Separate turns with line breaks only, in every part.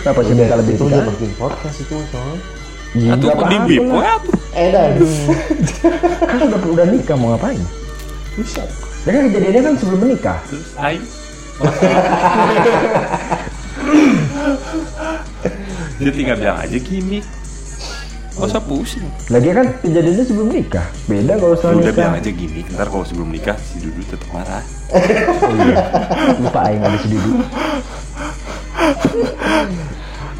Kenapa sih minta lebih
itu
tiga?
udah makin podcast itu mas soal
Iya,
Atau
apa-apa
di bip
lah.
weh, atuh.
eh dah
Kan udah udah nikah mau ngapain?
bisa
Ya kan kejadiannya kan sebelum menikah.
Terus aing. Dia tinggal bilang aja gini. Gak usah pusing.
Lagi kan kejadiannya sebelum nikah. Beda kalau setelah
Lu udah
nikah.
bilang aja gini. Ntar kalau sebelum nikah si Dudu tetap marah.
Oh, iya. Lupa aing habis dulu.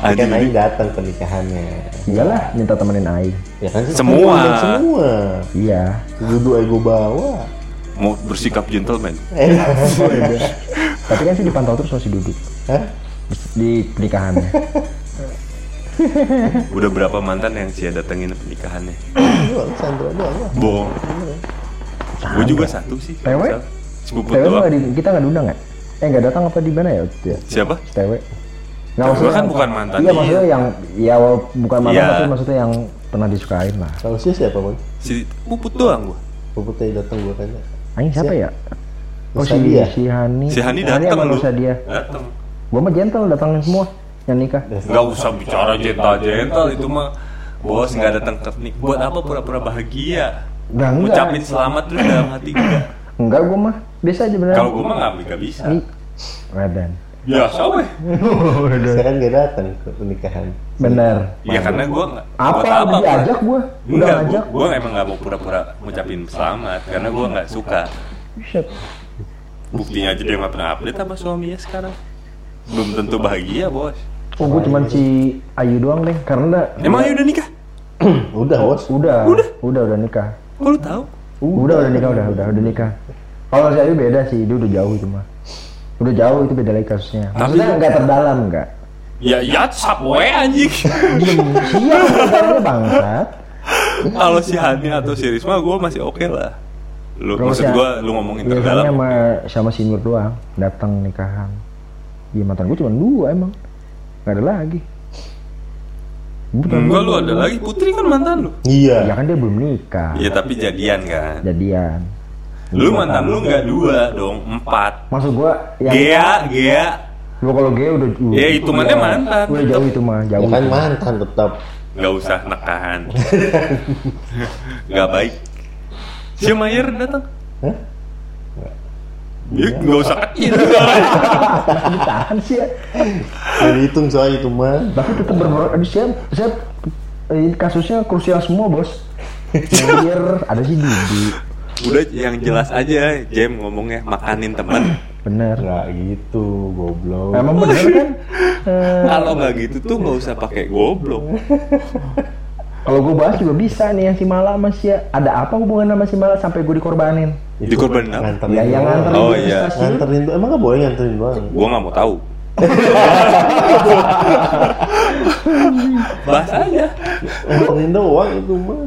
Aduh,
kan Aing
ini
datang ke nikahannya
Enggak Iya lah, minta temenin aing.
ya kan sih,
Semua.
kan diundang semua
Iya.
duduk ayo gua bawa
mau bersikap gentleman.
eh dah. iya.
Tapi kan sih dipantau terus masih duduk
Hah?
di pernikahannya.
Udah berapa mantan yang sia datengin pernikahannya?
doang Sandra doang lah
Bohong. Gue juga satu sih.
Tewe?
misal. Sepupu
Tewe
doang.
nggak di- kita nggak diundang nggak? Eh nggak datang apa di mana ya? waktu itu ya?
Siapa?
Tewe. Nggak
Tewe kan bukan mantan
Iya
dia.
maksudnya yang ya wal- bukan mantan
Iya.
tapi maksudnya yang pernah disukain lah.
kalau sih siapa mon
Si Puput doang gue.
puputnya datang gua tanya
Aing siapa ya? Oh si,
Nusadia.
si Hani.
Si Hani datang
sama
lu.
Nusa dia.
Datang.
Gua mah gentle datangin semua yang nikah.
Nggak usah bicara jental-jental itu mah. Bos nggak datang ke nik. Buat apa pura-pura bahagia?
Nah, enggak.
Ucapin selamat terus dalam hati gue.
Enggak gua mah biasa aja beneran.
Kalau gue mah nggak nggak bisa.
Ini Radan.
Biasa weh.
saya kan gak datang ke pernikahan
Bener.
Ya karena gue nggak.
Apa,
buat
apa
gua-
diajak gua? Udah
Enggak,
ngajak.
gue emang nggak mau pura-pura ngucapin selamat karena gue nggak suka.
Buset.
Buktinya aja dia nggak pernah update sama suaminya sekarang. Belum tentu bahagia bos.
Oh gua cuman si Ayu doang deh karena
Emang Ayu udah nikah?
udah bos
udah udah udah, udah nikah.
Kok lu tahu?
Udah udah nikah udah udah udah nikah. Kalau si Ayu beda sih, dia udah jauh itu mah. Udah jauh itu beda lagi kasusnya. Maksudnya nggak terdalam nggak?
Ya ya cap we anjing.
Iya, terdalamnya bangsat.
Kalau si Hani atau si Risma gue masih oke lah. Lu,
Kalau
maksud
si-
gue lu ngomongin
Iya, soalnya
terdalam.
sama sama si Nur doang datang nikahan. Iya mantan gue cuma dua emang, nggak ada lagi. Bukan
Enggak lu ada lagi Putri kan mantan lu.
Ya
iya
kan dia belum nikah.
Iya tapi jadian kan.
Jadian.
Lu mantan lu nggak dua dong empat.
Maksud gua yang
Gea Gea.
gua kalau gue udah udah-
Iya. Ya, hitungannya
udah-
mantan.
Udah jauh itu mah,
ya
jauh.
kan mantan tetap
nggak usah nekahan nggak baik si Mayer datang
Hah?
Ya, nggak usah kecil
Ditahan sih ya.
Udah dihitung soal itu mah
Tapi tetap berber aduh siap siap Eh, kasusnya krusial semua, Bos. Anjir, ada sih Didi.
udah yang jelas aja Jem ngomongnya makanin temen
Bener.
nggak gitu goblok
Emang bener kan?
kalau nggak gitu tuh nggak usah pakai goblok
Kalau gue bahas juga bisa nih yang si Mala sama si ada apa hubungan sama si Mala sampai gue dikorbanin?
Itu kan.
dikorbanin apa?
nganterin
Ya yang
doang.
nganterin
Oh,
gua ke
iya.
stasiun.
nganterin doang. emang nggak boleh nganterin doang
gua nggak mau tahu bahas aja
nganterin doang itu mah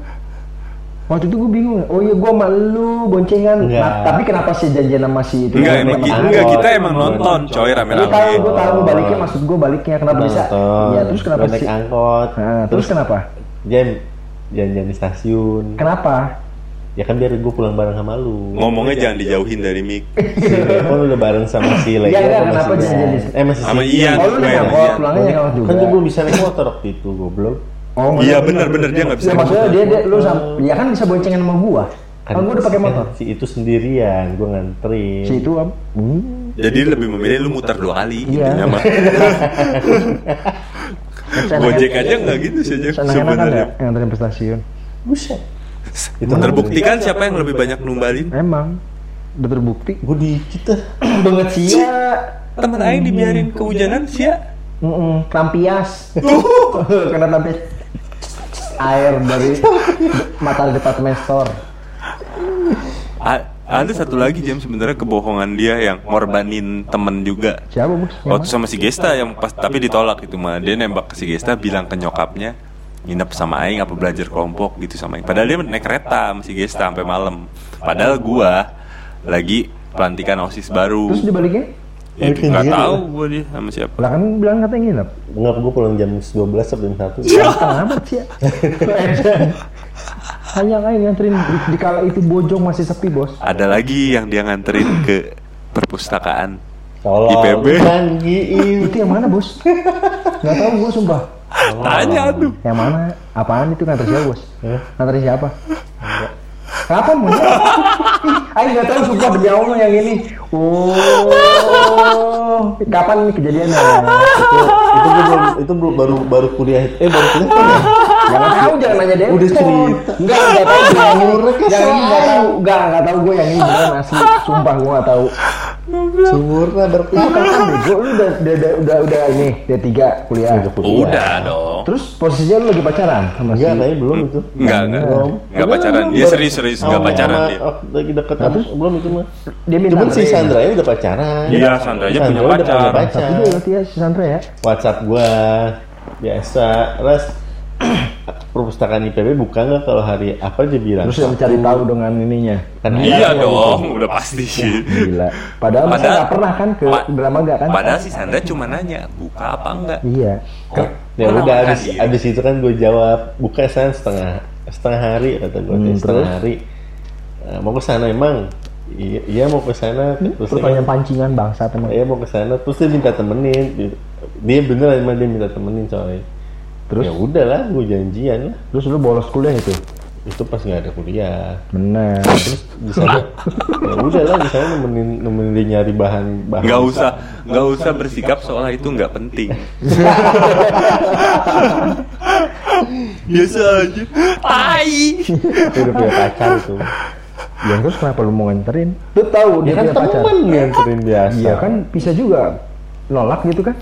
Waktu itu gue bingung. Oh iya gue malu boncengan.
Enggak.
Nah, tapi kenapa sih janjian sama si itu?
enggak
yang
emang
naik
gi-
angkot?
enggak kita emang nonton coy
Gue tahu,
rame-rame
gue tahu
Oh.
baliknya maksud gue baliknya kenapa bisa?
Nonton.
Iya terus kenapa
Lu naik
sih?
angkot
Nah, terus kenapa?
jam janjian di stasiun
Kenapa?
ya kan biar gue pulang bareng sama lu
ngomongnya jangan dijauhin dari mic
si Lepon udah bareng sama si Leo
Iya, iya,
sama
kenapa
si
janjian di-
Jan. eh masih
sama
si
Ian
Oh lu
gue
naik
yang
angkot
Ian.
pulangnya naik angkot juga.
kan gue bisa naik motor waktu itu goblok
Oh
iya benar-benar dia nggak bisa gitu.
Ya, maksudnya dia, dia lu sam, ya kan bisa boncengan sama gua. Kan gua udah pakai
kan
motor.
si itu sendirian gue nganterin
Si itu am. Hmm.
Jadi lebih memilih lu muter dua kali
Iya.
intinya mah. Gojek aja nggak gitu sih Jem,
Senang-senang
sebenarnya.
enggak kan ya, yang anterin ke stasiun?
buset itu
Terbukti kan siapa yang lebih banyak numbalin?
Emang udah terbukti
gue dikit ah.
banget sih ya.
Temen Aing dibiarin kehujanan sih ya.
Mm-mm, kerampias. Karena tapi air dari mata departemen store.
A- ada satu lagi Jem sebenarnya kebohongan dia yang ngorbanin temen juga.
Siapa bos? Yang
Waktu sama si Gesta yang pas tapi ditolak itu mah dia nembak ke si Gesta bilang ke nyokapnya nginep sama Aing apa belajar kelompok gitu sama Aing. Padahal dia naik kereta sama si Gesta sampai malam. Padahal gua lagi pelantikan osis
mana?
baru.
Terus dibaliknya?
Ya,
Mungkin
nggak
gitu.
tahu gue dia sama siapa.
Lah kan bilang katanya nginep.
Ya.
Iya.
Enggak, gue pulang jam 12 sampai jam 1
Kenapa sih? ya? Hanya Aing nganterin di, di kala itu Bojong masih sepi bos.
Ada lagi yang dia nganterin ke perpustakaan.
Tolong
IPB.
Canggih.
Itu yang mana bos? Gak tahu gue sumpah.
Tanya aduh.
Yang mana? Apaan itu nganter siapa bos?
Eh.
Nganter siapa? Kenapa mau? Aing nggak tahu sumpah demi Allah yang ini. Oh, kapan ini kejadiannya?
itu, itu gua belum itu belum- baru baru kuliah eh baru kuliah kan ya?
Jangan tahu jangan nanya dia.
Udah cerita.
Enggak, enggak tahu gue yang ini.
Urek ya,
Yang ini enggak
soalnya.
tahu. Enggak, enggak tahu gue yang ini beneran asli. Sumpah gue enggak tahu.
sumurna baru
Itu kapan bego lu udah udah udah udah, udah ini D3 kuliah.
Udah dong.
Terus posisinya lu lagi pacaran sama si
enggak tapi belum itu
Enggak, enggak.
Belum.
Enggak pacaran. Dia serius-serius enggak
Sama-
pacaran
sama-
dia.
oh, lagi deket sama belum itu mah
dia minta
cuman si
anterin.
Sandra ya udah pacaran
Iya, Sandra aja punya
udah
pacar.
Tapi dia ngerti ya si Sandra ya.
WhatsApp gua biasa res perpustakaan IPB buka nggak kalau hari apa dia bilang
Terus dia mencari tahu dengan ininya.
Kan
Iya
ada-
dong, Iya. udah pasti.
Gila. Padahal masa
Padahal-
nggak pernah kan ke
Pa-
drama enggak kan?
Padahal si Sandra cuma nanya, buka apa enggak?
Iya.
Kan, ya
Mana
udah
makan
abis,
dia?
abis itu kan gue jawab buka san setengah setengah hari kata gue
Hmm,
setengah
terus?
hari Eh, mau ke sana emang iya, iya mau ke sana terus dia,
Hmm, Pertanyaan pancingan bangsa teman.
iya mau ke sana terus dia minta temenin Dia- dia beneran emang dia minta temenin soalnya
Terus?
ya udahlah gue janjian lah
Terus lu bolos kuliah itu.
itu pas nggak ada kuliah
Benar.
terus di sana ya udahlah di sana nemenin nemenin dia nyari bahan bahan
Nggak usah, nggak usah bersikap seolah itu nggak penting. Biasa aja. Tai.
Dia udah punya pacar itu
Ya terus kenapa lu mau nganterin? Lu tahu
ya
dia
kan
punya pacar.
temen nganterin biasa
Iya kan bisa juga nolak gitu kan?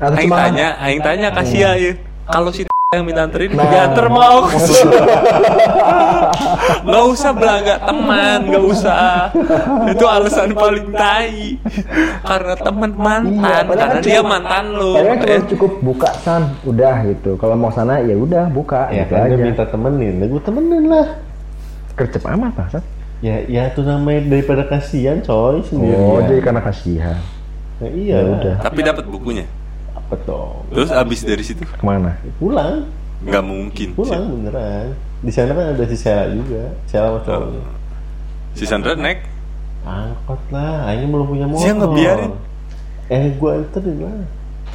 Atau
Aing
cuma
tanya, aing tanya kasih ya. ya. Kalau si yang minta anterin,
Nah.
ya diantar mau. Nggak usah belaga teman, nggak usah. Itu alasan paling tai. Karena teman
Iya,
mantan,
padahal
karena
kan
dia
cuma-
mantan Eh, lu.
Padahal kan cuma cukup buka san, udah gitu. Kalau mau sana ya udah buka
ya
gitu
kan dia
aja.
minta temenin lah gue temenin lah
Kercep amat lah, San.
ya ya itu namanya daripada kasihan coy sendirian
Oh, jadi karena kasihan.
Ya, iya udah
Tapi dapat bukunya.
apa dong
Terus abis dari situ
Kemana?
pulang
nggak mungkin.
pulang beneran di sana kan ada si Sela juga Sela sama cowoknya
Si Sandra naik
angkot lah ini belum punya motor
Dia ngebiarin.
eh gue anterin lah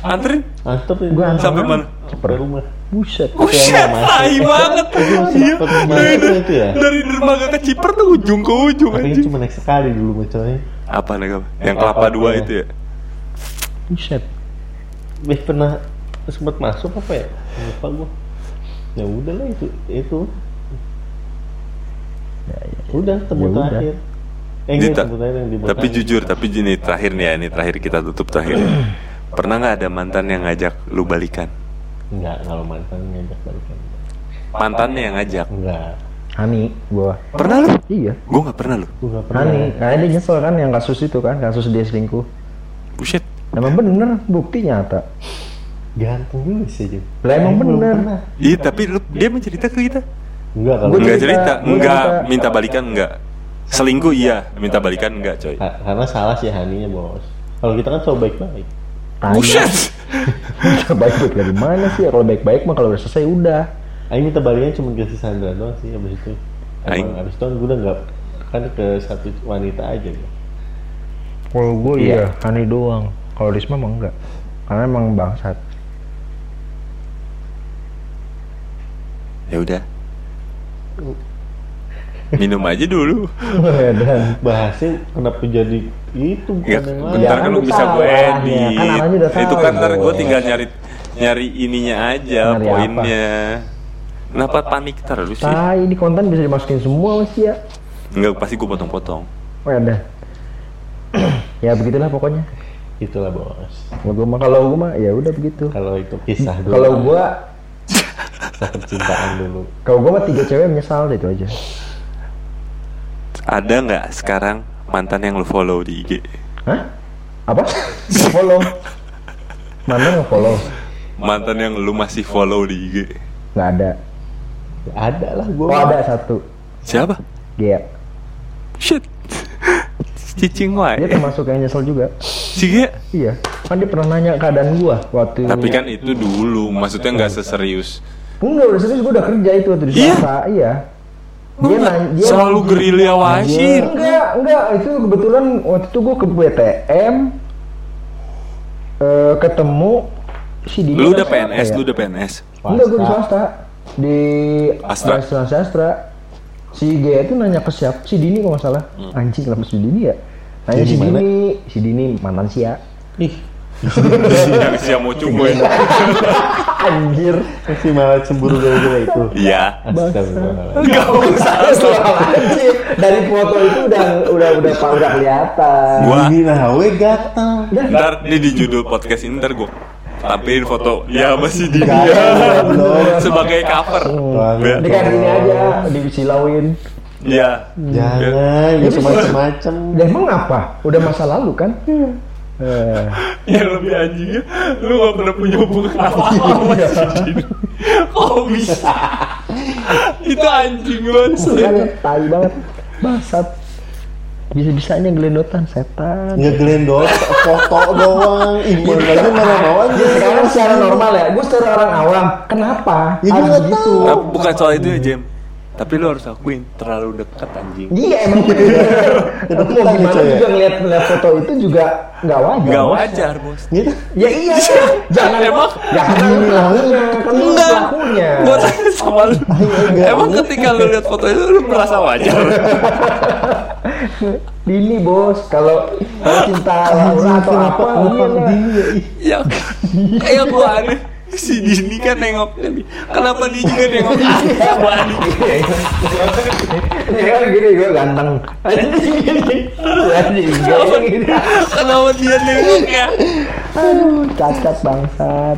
anterin
anterin
Gua anterin.
sampai mana?
sampai rumah
Buset.
Buset, Oh,
masuk.
tai banget. Iya,
sempat kemarin
dari,
itu ya?
dari dermaga ke Ciper tuh ujung ke ujung
tapi
anjing.
cuma naik sekali dulu macoy
Apa nih apa? Yang kelapa dua
Apa-apa.
itu ya?
Buset.
eh pernah sempat masuk apa ya lupa gue ya udah lah itu itu udah temu
Ya udah.
terakhir eh enggak
Dita,
temu terakhir yang di
tapi
Botan.
jujur, tapi ini terakhir nih ya, ini terakhir kita tutup terakhir. ya. Pernah nggak ada mantan yang ngajak lu balikan?
enggak kalau mantan ngajak balikan
Mantannya yang ngajak.
enggak
Hani gua.
Pernah lu?
Iya.
Gue nggak pernah lu.
gue nggak pernah
Hani, nah, dia nyesel kan yang kasus itu kan, kasus dia selingkuh.
Buset.
Emang bener, bukti nyata.
ganteng dulu sih Jim
Lah emang
Belum
bener.
pernah.
Iya, tapi lu, dia mencerita ke kita.
enggak kalau gitu.
Gua
Enggak
cerita,
cerita,
gua cerita.
enggak minta balikan enggak. Selingkuh iya, minta balikan enggak, coy.
Ka- karena salah sih Haninya bos kalau kita kan so baik-baik
Tanya.
Buset.
baik-baik dari mana sih? Kalau baik-baik mah kalau udah selesai udah.
Aing minta balikan cuma ke si Sandra doang sih abis itu
Aing-
Emang, abis itu gue udah nggak kan ke satu wanita aja gitu
Kalau gue iya, Hani doang. Kalau Risma mah enggak. Karena emang bangsat.
Ya udah. Minum aja dulu.
Dan
bahasnya kenapa jadi itu bukan
Ya,
yang lain
bentar
kan
kalau
lu
bisa
tahu
gue
arahnya.
edit.
Kan arahnya udah
itu
tahu.
kan ntar gue tinggal nyari nyari ininya aja,
Nyari
poinnya. Kenapa panik terus sih?
tai ini konten bisa dimasukin semua masih ya.
Enggak, pasti gue potong-potong.
Oh ada. ya begitulah pokoknya.
itulah bos
Kalau gue mah kalau gue mah ya udah begitu.
kalau itu kisah dulu
Kalau gua
kisah percintaan dulu
kalau gua mah tiga cewek menyesal deh itu aja.
Ada nggak sekarang mantan yang lu follow di IG?
Hah? Apa? follow. Mana nggak follow?
Mantan yang lu masih follow di IG?
Nggak ada.
Ya, ada lah gue
Oh ada satu.
Siapa?
Gea.
Shit. Cicing
Dia
wae. ya?
termasuk yang nyesel juga.
Si Ge.
Iya. Kan dia pernah nanya keadaan gua waktu.
Tapi kan itu dulu, maksudnya nggak seserius
Enggak, udah serius gue udah kerja itu tuh di
Iya?
Selasa. Iya.
Lu nggak selalu gerilya wasir.
Enggak, enggak. Itu kebetulan waktu itu gue ke BTM eh, ketemu si Dini.
Lu
kan
udah
siapa
PNS,
ya?
lu udah PNS.
Enggak, gue di swasta. Di
Astra.
Astra Sastra. Si G itu nanya ke siapa? Si Dini kalau nggak salah.
Hmm.
Anjing kenapa si Dini ya? Nanya
Dini
si
mana?
Dini. Si Dini mantan Sia.
Ih,
Yang siap mau cukup
Iya. Anjir.
si malah cemburu gara-gara itu.
Iya.
Astagfirullah.
Enggak usah.
Anjir. Dari foto itu udah udah udah udah kelihatan.
Gua
Ini nah, we gatal.
ntar ini di judul podcast ini ntar gua tampilin foto ya masih di
Jangan,
dia
belum.
sebagai cover.
Banget.
Dekat ini
Oh.
aja disilauin.
Iya.
Jangan, ya semacam-macam.
Ya emang apa? Udah masa lalu kan? Eh,
Yang Ya, lebih anjingnya, lu gak pernah punya hubungan apa-apa
Oh,
sama
iya.
si Dini. Kok bisa? Itu anjing banget.
kan
sih.
tai banget. Bangsat. Bisa-bisanya gelendotan setan.
Ngegelendol foto doang. Iman lagi marah-marah aja.
Iya. Sekarang secara normal ya, gue secara orang awam. Kenapa?
Ya, iya. gua
Harus
nggak
gitu.
tahu.
Tapi bukan soal itu ya, Jem. Tapi lu harus akuin terlalu dekat anjing.
Iya emang gitu. Tapi mau
Kedeketan
gimana
gitu ya?
juga ngeliat, ngeliat foto itu juga nggak wajar.
Gak wajar, Bos.
Gitu.
Ya iya. jangan
Emang?
Jangan lu pelakunya. Kan lu
Enggak.
pelakunya.
Gua tanya sama lu. Emang ketika lu lihat foto itu lu merasa wajar?
Dini bos, kalau kalau cinta Laura atau apa, iya
Apa
iyalah.
dia? Ih,
yang yang gua aneh Iya. si Dini kan nengok Dini. kenapa dia juga nengok gua aneh
Iya kan gini gue ganteng. Anjing gini. Anjing
kenapa,
gini.
kenapa dia nengok ya
Aduh, cacat bangsat.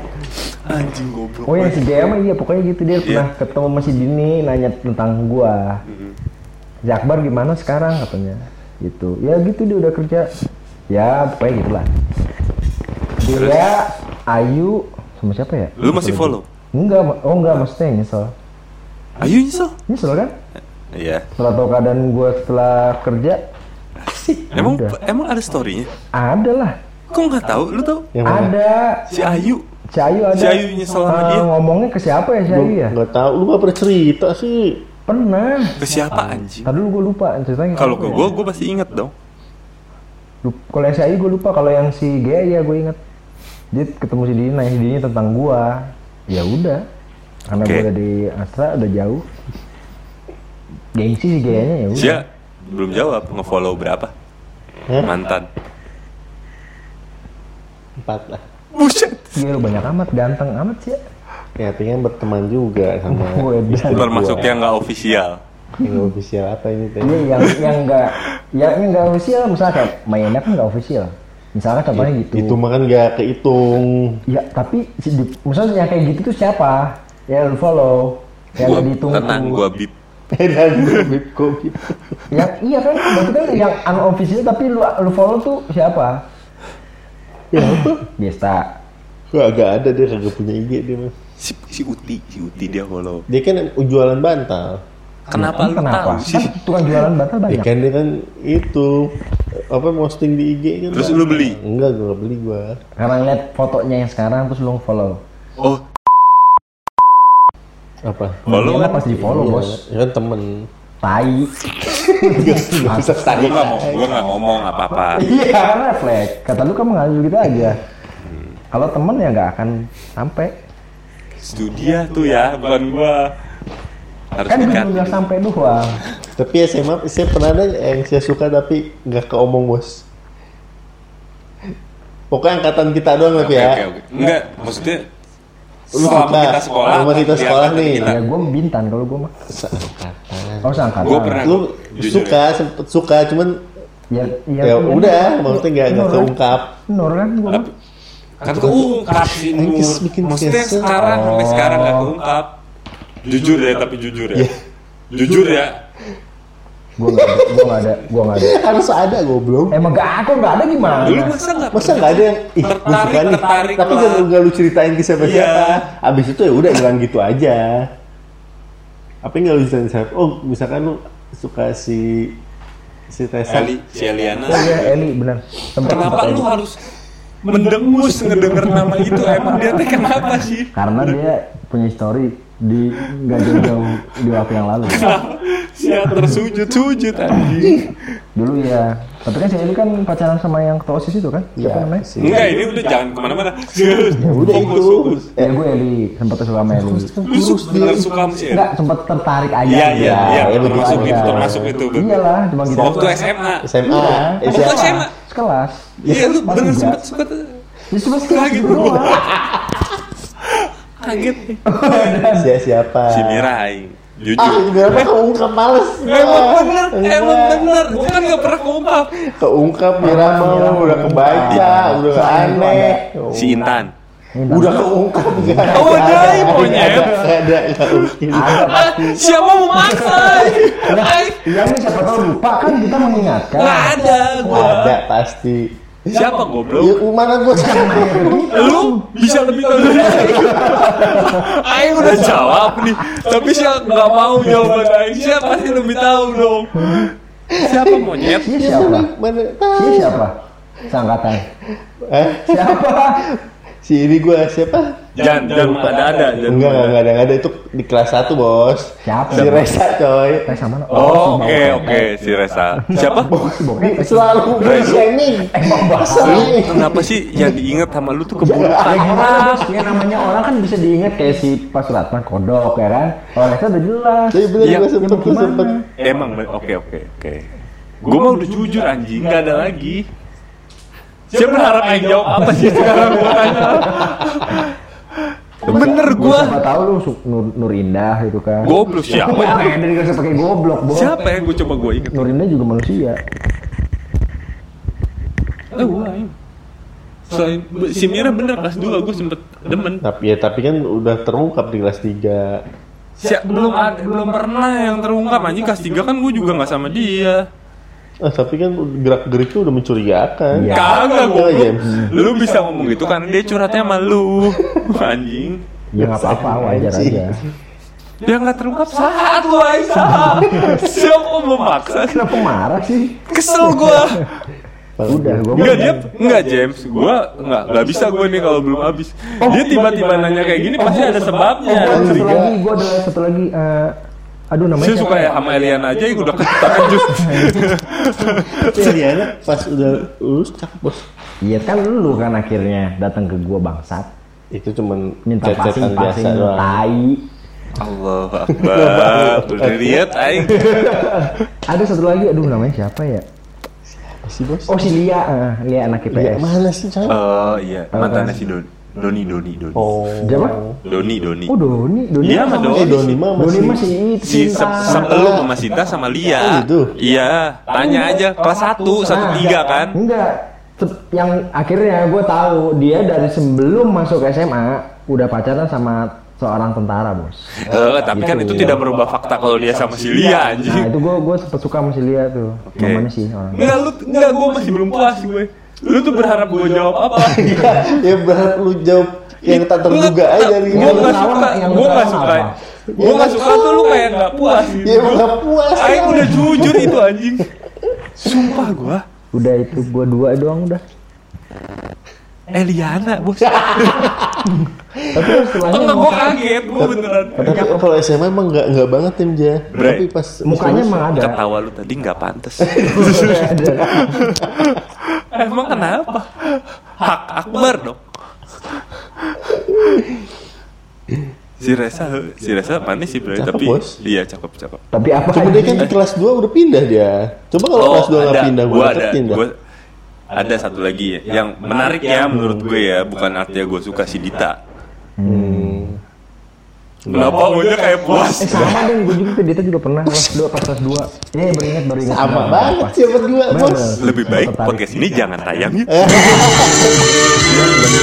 anjing goblok
Oh yang si Jaya mah iya pokoknya gitu dia pernah
Iya.
ketemu sama si Dini nanya tentang gua.
Mm-hmm.
Jakbar gimana sekarang katanya. Gitu. Ya gitu dia udah kerja. Ya pokoknya gitulah. Dia Ayu sama siapa ya?
lu masih follow
Enggak, ma- oh enggak maksudnya yang nyesel.
ayo nyesel
Nyesel kan?
iya
Setelah tahu keadaan gua setelah kerja,
emang
Udah.
emang ada storynya
ada lah.
kok nggak tahu lu tahu
Yang mana?
Ada.
si Ayu
Si Ayu ada.
Si Ayu nyesel sama
Ah,
dia.
Ngomongnya ke siapa ya si
Gua
Ayu ya?
Nggak tahu, lu nggak pernah cerita sih.
Pernah.
ke siapa anjing
Tadi dulu gue lupa ceritanya.
kalau ke
siapa ya?
gua gua pasti inget dong
Lup- kalau yang si Ayu gue lupa, kalau yang si Gea ya gue inget. Dia ketemu si Dini, nanya si Dini tentang gua. Ya udah, karena
Oke.
gue udah di Astra udah jauh. Gengsi si Gea-nya ya udah.
dia Iya. belum jawab ngefollow berapa
Hah?
mantan
Empat lah.
buset
Gila lu banyak amat, ganteng amat sih ya.
Ya, pengen berteman juga sama
Gue bilang.
termasuk yang nggak official
yang official apa ini teh?
Iya yang yang enggak yang yang enggak official misalnya mainnya kan enggak official. Misalnya contohnya gitu.
Itu mah kan nggak kehitung.
Ya tapi si, di- misalnya yang kayak gitu tuh siapa? Ya lu follow. Ya, Yang
gua
dihitung
tenang gua bip
Eh, dan gitu? bib kopi.
Yang iya kan berarti kan yang unofficial tapi lu lu follow tuh siapa?
Ya,
Biasa.
Gua agak ada dia kagak punya IG dia mah.
si, si Uti si Uti dia follow
Dia kan jualan bantal.
kenapa lu
Kenapa?
tahu
Kan
sih
tukang jualan batal
Ya
banyak.
kan dia kan itu apa posting di IG kan.
Terus
Pak?
lu beli?
Enggak, gua nggak beli gua.
Karena ngeliat fotonya yang sekarang terus lu follow.
oh
Apa?
follow
Iya,
kan
pas di follow
Iya,
bos.
Ya kan temen.
Tai.
Gak bisa
gue
tadi.
nggak mau gue nggak ngomong apa-apa
Iya kan refleks. Kata lu kan mengalir gitu aja. Kalau temen ya nggak akan sampai.
studia tuh ya bukan gua harus
Kan gue
dekat
cuma bilang sampai doang.
Tapi ya saya maaf, saya pernah ada yang saya suka tapi nggak keomong bos. Pokoknya angkatan kita doang
oke
tapi ya.
oke oke enggak maksudnya
Lu
selama
suka.
kita sekolah
Selama kita
di
sekolah
angkatan
nih.
kita.
Ya gue bintan kalau gue mah.
Seangkatan.
Oh seangkatan.
Gua pernah
Lu
jujur ya.
suka, sempet suka, cuman
Ya,
ya, udah, maksudnya nggak nggak keungkap.
Nur kan gue mah.
kan keungkap sih Nur.
Anjis bikin
maksudnya yang
kesel.
sekarang sampai sekarang gak keungkap jujur ya tapi jujur
Iya.
ya jujur ya
Gue nggak ada. Gue nggak ada. Gue nggak ada.
Eh, Harus ada goblok.
Emang gak aku nggak ada gimana?
dulu masa nggak
Masa nggak ada yang ih gue
Tertarik,
suka nih
tertarik
Tapi
lah.
gak, gak lu ceritain ke siapa siapa
Iya.
Abis itu ya udah hilang gitu aja Apa yang gak lu ceritain siapa Oh misalkan lu suka si Si Tessa
Eli si Eliana
Oh iya Eli benar.
Iya.
Tempat
kenapa lu harus mendengus ngedenger nama itu emang dia teh kenapa sih
Karena dia punya story di nggak jauh-jauh di waktu yang lalu
Sia tersujud-sujud anjing.
dulu ya tapi kan si Eli kan pacaran sama yang ketua osis itu kan siapa
Iya,
namanya
sih.
Enggak, ini udah jangan kemana-mana. Serius,
Udah
fokus,
itu.
fokus.
ya gue Eli sempat suka sama Eli
Lu su- beneran suka sama si Eli?
Enggak, sempat tertarik aja
Iya, iya,
Ya,
iya.
Eli
gitu
Termasuk
aja.
itu, termasuk itu. bener.
iyalah cuma gitu
Waktu
doang.
SMA.
SMA.
Iya.
SMA.
Waktu SMA.
sekelas
Iya, lu bener
Enggak.
sempet sempet
ya cuma sekelas
Kaget
gitu
gua.
doang
kaget.
Sia siapa?
Si Mira aing.
Ah,
Jujur.
si Mira mah keungkap males.
Emang
Ah,
bener,
Mira.
emang bener. Gue kan gak pernah kumpap.
Keungkap Mira
Ah, Mira Ah,
mau udah
keungkap.
kebaca,
Iya.
udah
Soalnya itu
aneh. Oh.
Si Intan.
Udah keungkap enggak?
Oh, dai, monyet.
Ada enggak mungkin.
ada
Ah, siapa mau maksa? Aing.
iya ini siapa tahu lupa kan kita mengingatkan
Gak ada gua.
Ada pasti.
Siapa
Ya
goblok?
mana gua tahu.
Lu bisa lebih tahu dari Aing. Aing udah jawab nih, tapi siapa nggak mau jawaban Aing. Siapa sih lebih tahu dong? Siapa monyet?
Iya, siapa
Mana
Iya,
tahu?
siapa sangkatan
Eh,
siapa
si ini gua siapa?
Jangan, jangan ada ada.
Enggak, enggak, enggak ada, enggak ada itu di kelas 1, Bos.
Siapa?
Si Reza, coy.
Eh, sama no.
Oh, oke oke si Resa. Siapa?
Selalu bershaming.
Eh,
Emang bahasa ini.
Kenapa sih yang diingat sama lu tuh
Ya
keburukan?
gimana bos, ya namanya orang kan bisa diingat kayak si Pak Suratman kodok ya kan Orang itu udah jelas
Tapi bener
Iya,
gua sempet, gua
gimana?
sempet.
Emang oke oke oke. Gue mah udah jujur anjing, nggak ada lagi. Siapa berharap Aing jawab apa sih sekarang gua tanya? Bener gua.
Gua Siapa tahu lu su- Nur, Nur Indah gitu kan
Goblok siapa?
Wah, pengen dari gak pakai goblok bos
Siapa yang gue coba gue inget?
Nur Indah juga manusia
Eh gue Selain si Mira bener kelas 2 gue sempet demen.
Tapi ya, tapi kan udah terungkap di kelas 3.
Si, belum ada, belum pernah yang terungkap anjing kelas 3 kan gue juga nggak sama dia.
Ah, tapi kan gerak geriknya udah mencurigakan.
Iya.
Kagak
Oh, iya.
gue. Lu bisa ngomong gitu karena dia curhatnya sama lu. Anjing.
Ya gak apa-apa wajar
Anjing.
aja
Dia nggak terungkap saat lu Aisyah. Siapa memaksa?
Kenapa marah sih?
Kesel gua.
Udah gua
Enggak Iya, dia, enggak James. Gua enggak enggak bisa gua nih kalau belum habis. Dia tiba-tiba nanya kayak gini pasti ada sebabnya.
Oh, ada satu
Curiga.
lagi, gua ada satu lagi eh, Aduh namanya
Saya suka ya sama Elian aja yang udah ketakjub.
Tapi Eliana pas udah lulus cakep bos.
Iya kan lu kan akhirnya datang ke gua bangsat
Itu cuman
Minta
cecetan kan biasa
pasing-pasing
doang.
tai
Allah Akbar. Eh, Udah lihat aing.
Ada satu lagi, aduh namanya siapa ya?
Apa sih bos?
Oh si Lia, eh, Lia anak
Ya,
IPS
mana sih coy?
Oh iya, mantannya si Doni. Doni Doni Doni.
Oh.
Siapa?
Doni Doni.
Oh Doni, Doni
Iya, sama
Eh, Doni mah
Doni Ah.
masih.
masih itu
Si sem, sem
Sinta.
lu sama Sinta sama
Oh,
Lia.
gitu.
Iya, tanya aja kelas 1
Nah,
1 3 kan.
Enggak, Tep- yang akhirnya gue tahu dia dari sebelum masuk SMA udah pacaran sama seorang tentara bos.
Eh, tapi kan itu tidak merubah fakta kalau dia sama si Lia
Nah
anjing.
itu gue gue sempet suka sama si Lia tuh,
Oke.
namanya sih orang.
Enggak, lu enggak gue masih belum puas gue. Lu tuh berharap gue jawab apa?
ya berharap lu jawab yang tak terduga aja nih.
Gue enggak
tahu
suka,
yang
gue
lu
enggak
tahu
suka.
apa.
Gue enggak suka tuh lu kayak enggak puas gitu.
Ya udah puas.
Aing udah jujur itu anjing. Sumpah gue.
Udah itu gue dua doang udah.
Eliana, Eh, bos.
Tapi setelahnya
Enggak, gue
muka-
kaget, gue beneran.
Tapi kalau SMA emang enggak enggak banget tim Ja.
Bre.
Tapi pas
mukanya emang ada.
Ketawa lu tadi nggak pantas. Emang kenapa? Hak Akbar dong. Si Reza, si Reza manis sih bro,
Cakep,
tapi
bos.
iya cakep cakep.
Tapi apa?
Cuma dia kan di kelas 2 udah pindah dia. Coba kalau kelas 2 enggak pindah
gua
gua
Oh, ada,
pindah.
gua- ada satu lagi ya, yang menarik ya menurut gue ya, bukan artinya gue suka si Dita.
Hmm.
Kenapa punya kayak puas?
Eh sama dong, gue juga tuh Dita juga pernah kelas dua pas kelas dua. Ini beringat baru ingat.
Sama banget sih berdua,
Bener.
Bos.
Lebih baik
Tertarik.
podcast ini jangan tayang ya.